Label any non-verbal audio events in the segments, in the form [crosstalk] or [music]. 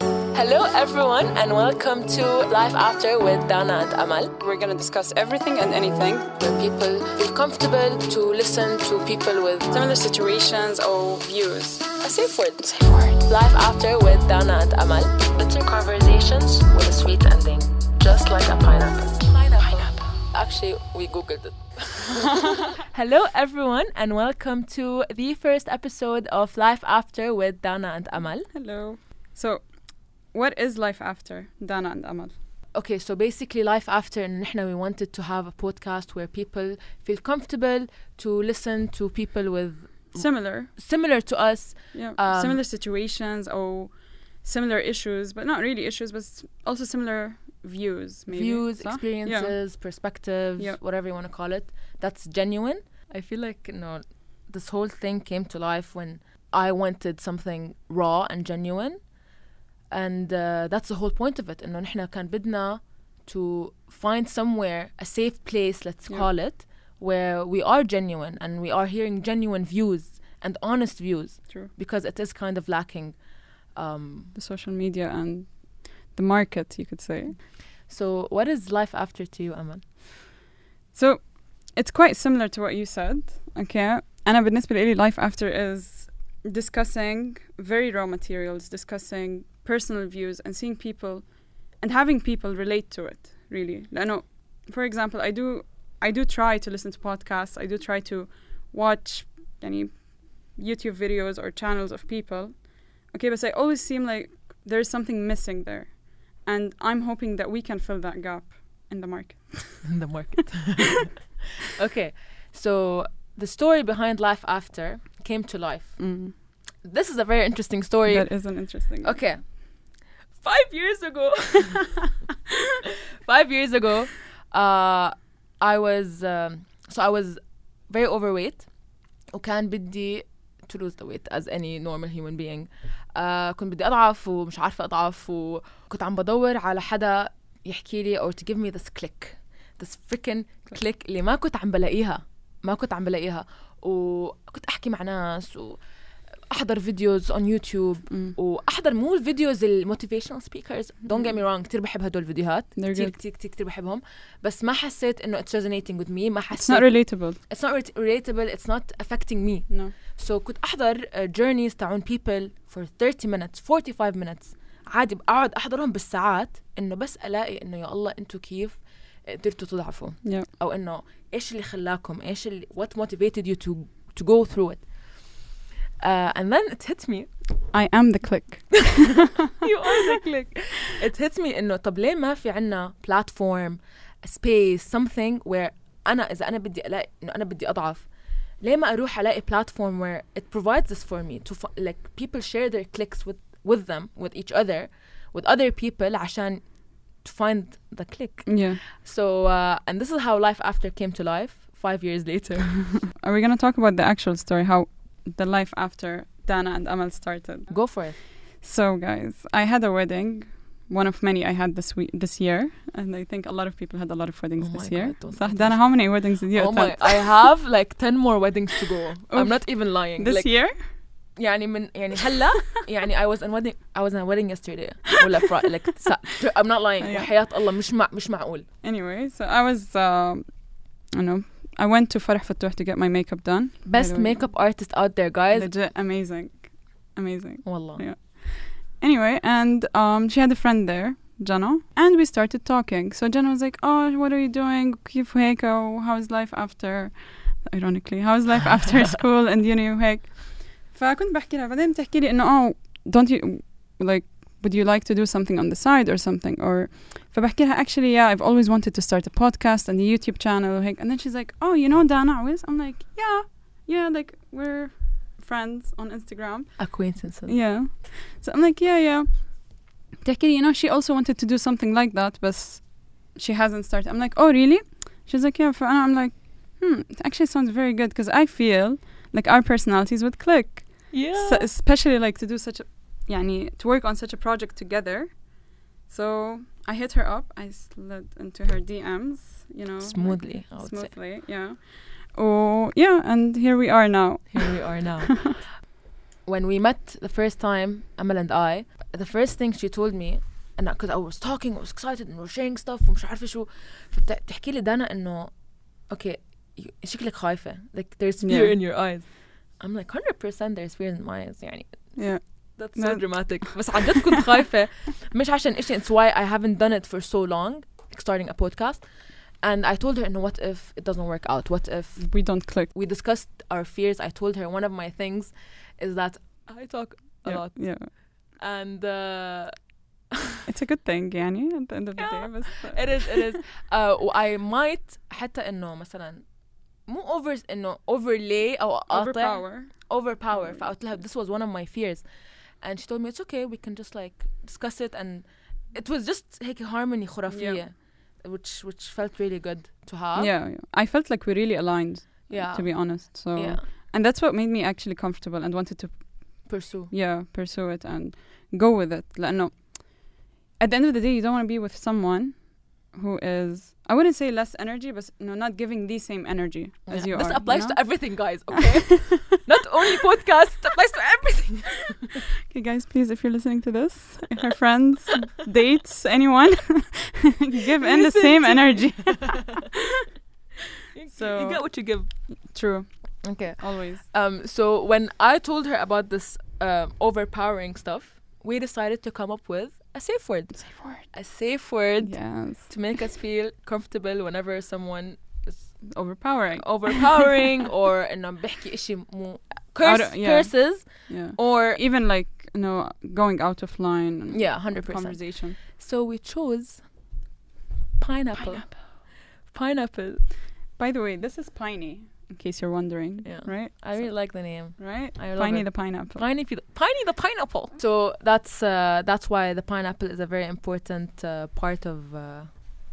Hello, everyone, and welcome to Life After with Dana and Amal, We're going to discuss everything and anything, where people feel comfortable to listen to people with similar situations or views. a safe word. Life After with Dana and Amal. Bitter conversations with a sweet ending, just like a pineapple. Pineapple. Actually, we googled [laughs] it. Hello, everyone, and welcome to the first episode of Life After with Dana and Amal. Hello. So, what is life after Dana and Amal? okay so basically life after and نحن we wanted to have a podcast where people feel comfortable to listen to people with Similar, similar to us yeah, Um, similar situations or similar issues, but not really issues, but s- also similar views, maybe. views صح? experiences perspectives Yeah. whatever you want to call it that's genuine i feel like you know this whole thing came to life when i wanted something raw and genuine and uh, that's the whole point of it انه نحن كان بدنا to find somewhere a safe place let's Yeah. call it where we are genuine and we are hearing genuine views and honest views True. because it is kind of lacking um, The social media and the market, you could say. so what is life after to you Aman So it's quite similar to what you said, okay? أنا بالنسبة لي life after is discussing very raw materials, discussing personal views and seeing people and having people relate to it, really. لأنه for example, I do I do try to listen to podcasts, I do try to watch any YouTube videos or channels of people. Okay, but I always seem like there's something missing there. And I'm hoping that we can fill that gap in the market. in [laughs] the market. okay, so the story behind Life After came to life. This is a very interesting story. That is an interesting. okay, five years ago, [laughs] five years ago, uh, I was um, so I was very overweight. وكان بدي to lose the weight as any normal human being. Uh, كنت بدي أضعف ومش عارفة أضعف وكنت عم بدور على حدا يحكي لي or to give me this click this freaking click اللي ما كنت عم بلاقيها ما كنت عم بلاقيها وكنت أحكي مع ناس وأحضر فيديوز on يوتيوب Mm. وأحضر مو الفيديوز الموتيفيشنال سبيكرز دونت get me wrong كتير بحب هدول الفيديوهات They're كتير good. كتير كتير كتير بحبهم بس ما حسيت إنه it's resonating with me ما حسيت It's not relatable. it's not re- relatable it's not affecting me No. so كنت احضر uh, journeys تاعون people for 30 minutes 45 minutes عادي بقعد احضرهم بالساعات انه بس الاقي انه يا الله انتوا كيف قدرتوا تضعفوا Yeah. او انه ايش اللي خلاكم ايش اللي what motivated you to to go through it uh, and then it hit me [laughs] I am the click. you are [laughs] the click it hits me انه طب ليه ما في عنا platform space something where انا اذا انا بدي الاقي انه انا بدي اضعف ليه ما اروح الاقي platform where it provides this for me to fi- like people share their clicks with with them with each other with other people عشان to find the click Yeah. so uh, and this is how life after came to life five years later Are we gonna talk about the actual story? How the life after Dana and Amal started? [laughs] go for it So guys, I had a wedding, one of many I had this week, this year, and I think a lot of people had a lot of weddings Oh this my year. God, don't صح, do Dana, this. how many weddings did you oh my attend I have like 10 more weddings to go I'm Oof. not even lying [laughs] this like, [laughs] year? [laughs] يعني من يعني هلا [laughs] يعني I was in wedding I was in a wedding yesterday [laughs] ولا فر [laughs] like س- I'm not lying Yeah. وحياة الله مش مع مش معقول Anyway, so I was, um, you know, I went to Farah Fatouh to get my makeup done. best By the way. makeup artist out there guys Legit amazing, amazing. والله Anyway, and um, she had a friend there, Jana, and we started talking. So Jana was like, "Oh, what are you doing? كيف هيك? Oh, how's life after?" Ironically, how's life after school and uni وهيك. فكنت بحكي لها بعدين بتحكي لي إنه oh, don't you like would you like to do something on the side or something or فبحكي لها actually yeah I've always wanted to start a podcast and a YouTube channel وهيك and then she's like oh you know Dana Awiz I'm like yeah yeah like we're friends on Instagram acquaintances yeah. So I'm like, yeah, yeah. بتحكي لي, you know, she also wanted to do something like that, but she hasn't started. I'm like, oh, really? She's like, yeah. And I'm like, hmm, it actually sounds very good because I feel like our personalities would click. So yeah especially like to do such a, يعني, to work on such a project together. So I hit her up. I slid into her DMs, you know. smoothly I would say Smoothly, yeah. Oh, yeah. And here we are now. [laughs] here we are now when we met the first time, Amal and I, the first thing she told me and because I was talking, I was excited and we were sharing stuff ومش عارفة شو فبتحكي لي دانا انه okay you- شكلك خايفة like there's fear Yeah. in your eyes I'm like 100% there's fear in my eyes يعني yeah That's so No. dramatic. بس عن جد كنت خايفة مش عشان إشي it's why I haven't done it for so long like starting a podcast and I told her no what if it doesn't work out what if we don't click we discussed our fears I told her one of my things is that I talk a yeah, lot yeah and uh, [laughs] it's a good thing يعني at the end of the Yeah. day بس it is it is uh, I might حتى إنه مثلا مو over إنه overlay أو أقاطع overpower overpower Mm. فقلت لها this was one of my fears and she told me it's okay we can just like discuss it and it was just هيك harmony خرافية which which felt really good to have yeah, yeah I felt like we really aligned yeah to be honest so yeah and that's what made me actually comfortable and wanted to pursue yeah pursue it and go with it لأنه at the end of the day you don't want to be with someone who is I wouldn't say less energy but no not giving the same energy as Yeah. you this are applies you to everything guys [laughs] okay not only podcast it applies to everything okay guys please if you're listening to this if your friends dates anyone [laughs] give in the Listen same to- [laughs] energy You- So- you get what you give true okay always um so when I told her about this um, overpowering stuff we decided to come up with a safe word safe word a safe word yes to make us feel comfortable whenever someone is overpowering [laughs] overpowering or انه بحكي اشي مو curse, yeah. curses yeah or even like you know going out of line and yeah 100% conversation so we chose pineapple pineapple by the way this is piney in case you're wondering Yeah. right I really like the name right I love piney it. the pineapple Piney, pe- Piney the pineapple. So that's uh, that's why the pineapple is a very important uh, part of uh,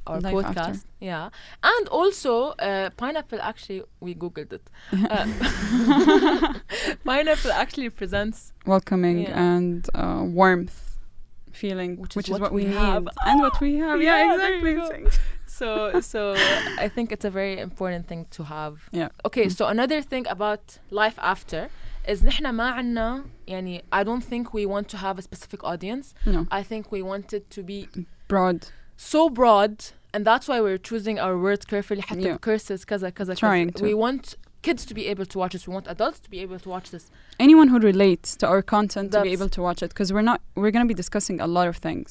our Life podcast. after. Yeah, and also uh, pineapple actually we googled [laughs] it. Uh, [laughs] pineapple actually presents welcoming Yeah. and uh, warmth feeling Which which, is is what what, we we, have. need and what we have yeah, Yeah, there exactly you go. Thank- so so I think it's a very important thing to have. Yeah. Okay, Mm. so another thing about life after is نحنا ما عنا يعني I don't think we want to have a specific audience. no I think we wanted to be broad so broad and that's why we're choosing our words carefully حتى Yeah. curses كذا كذا كذا. Trying to. we want kids to be able to watch this we want adults to be able to watch this anyone who relates to our content to be That's- able to watch it because we're not we're going to be discussing a lot of things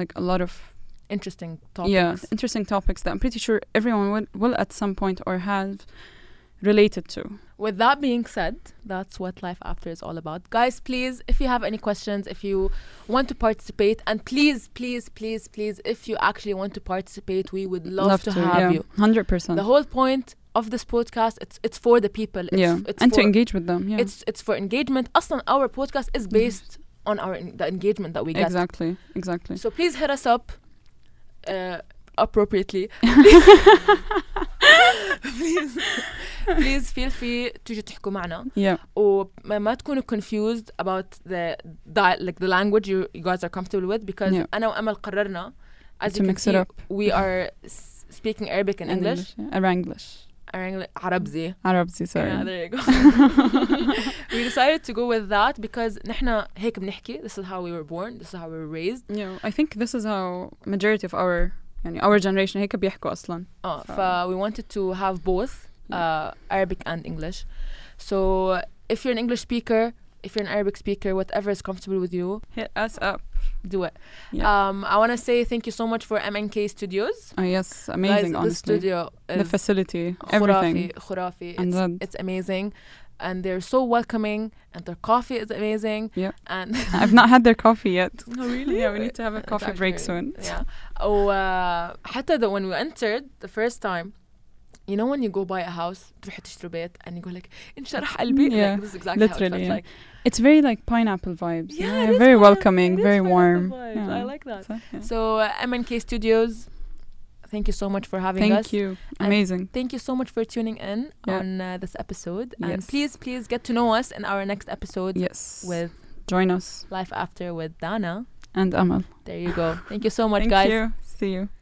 like a lot of interesting topics yeah interesting topics that i'm pretty sure everyone will, will at some point or have related to with that being said that's what life after is all about guys please if you have any questions if you want to participate and please please please please if you actually want to participate we would love, to, have yeah, you 100% the whole point of this podcast it's it's for the people it's, yeah it's and for to engage with them yeah Mm-hmm. it's it's for engagement اصلا our podcast is based on our en- the engagement that we get exactly exactly so please hit us up uh, [laughs] appropriately please please feel free تيجوا تحكوا معنا yeah وما ما تكونوا confused about the di- like the language you, you guys are comfortable with because Yeah. انا وامل قررنا as To you can mix it see, up. we are s- speaking Arabic and and English, yeah. Arab English Mm. English. Arabzi Arab sorry Yeah, there you [laughs] go. we decided to go with that because نحن هيك بنحكي. This is how we were born. This is how we were raised. Yeah, I think this is how majority of our يعني our generation هيك بيحكوا أصلا. Uh, So- ف- we wanted to have both uh, Arabic and English. So if you're an English speaker, if you're an Arabic speaker, whatever is comfortable with you, Hit us up. do it. Yeah. Um, I want to say thank you so much for MNK Studios. Oh yes, amazing Guys, the honestly. studio The is facility, خرافي [laughs] everything. خرافي. And It's, then- it's amazing. And they're so welcoming, and their coffee is amazing. Yeah. And [laughs] I've not had their coffee yet. No, Oh, really? Yeah, we need to [laughs] have a It's coffee actually break really- soon. Yeah. وحتى the, when we entered the first time, you know when you go buy a house تروح تشتري بيت and you go like انشرح قلبي Yeah, like this is exactly how it literally, felt yeah. like It's very like pineapple vibes. you know, it is very fun. welcoming, It is very fun, it's warm. a vibe. Yeah. I like that So, yeah. so uh, MNK Studios thank you so much for having Thank us you. And- Amazing. Thank you so much for tuning in Yeah. on uh, this episode. And Yes. please, please get to know us in our next episode Yes. with Join us Life After with Dana. and Amal. There you go. Thank you so much, Thank guys. you. See you.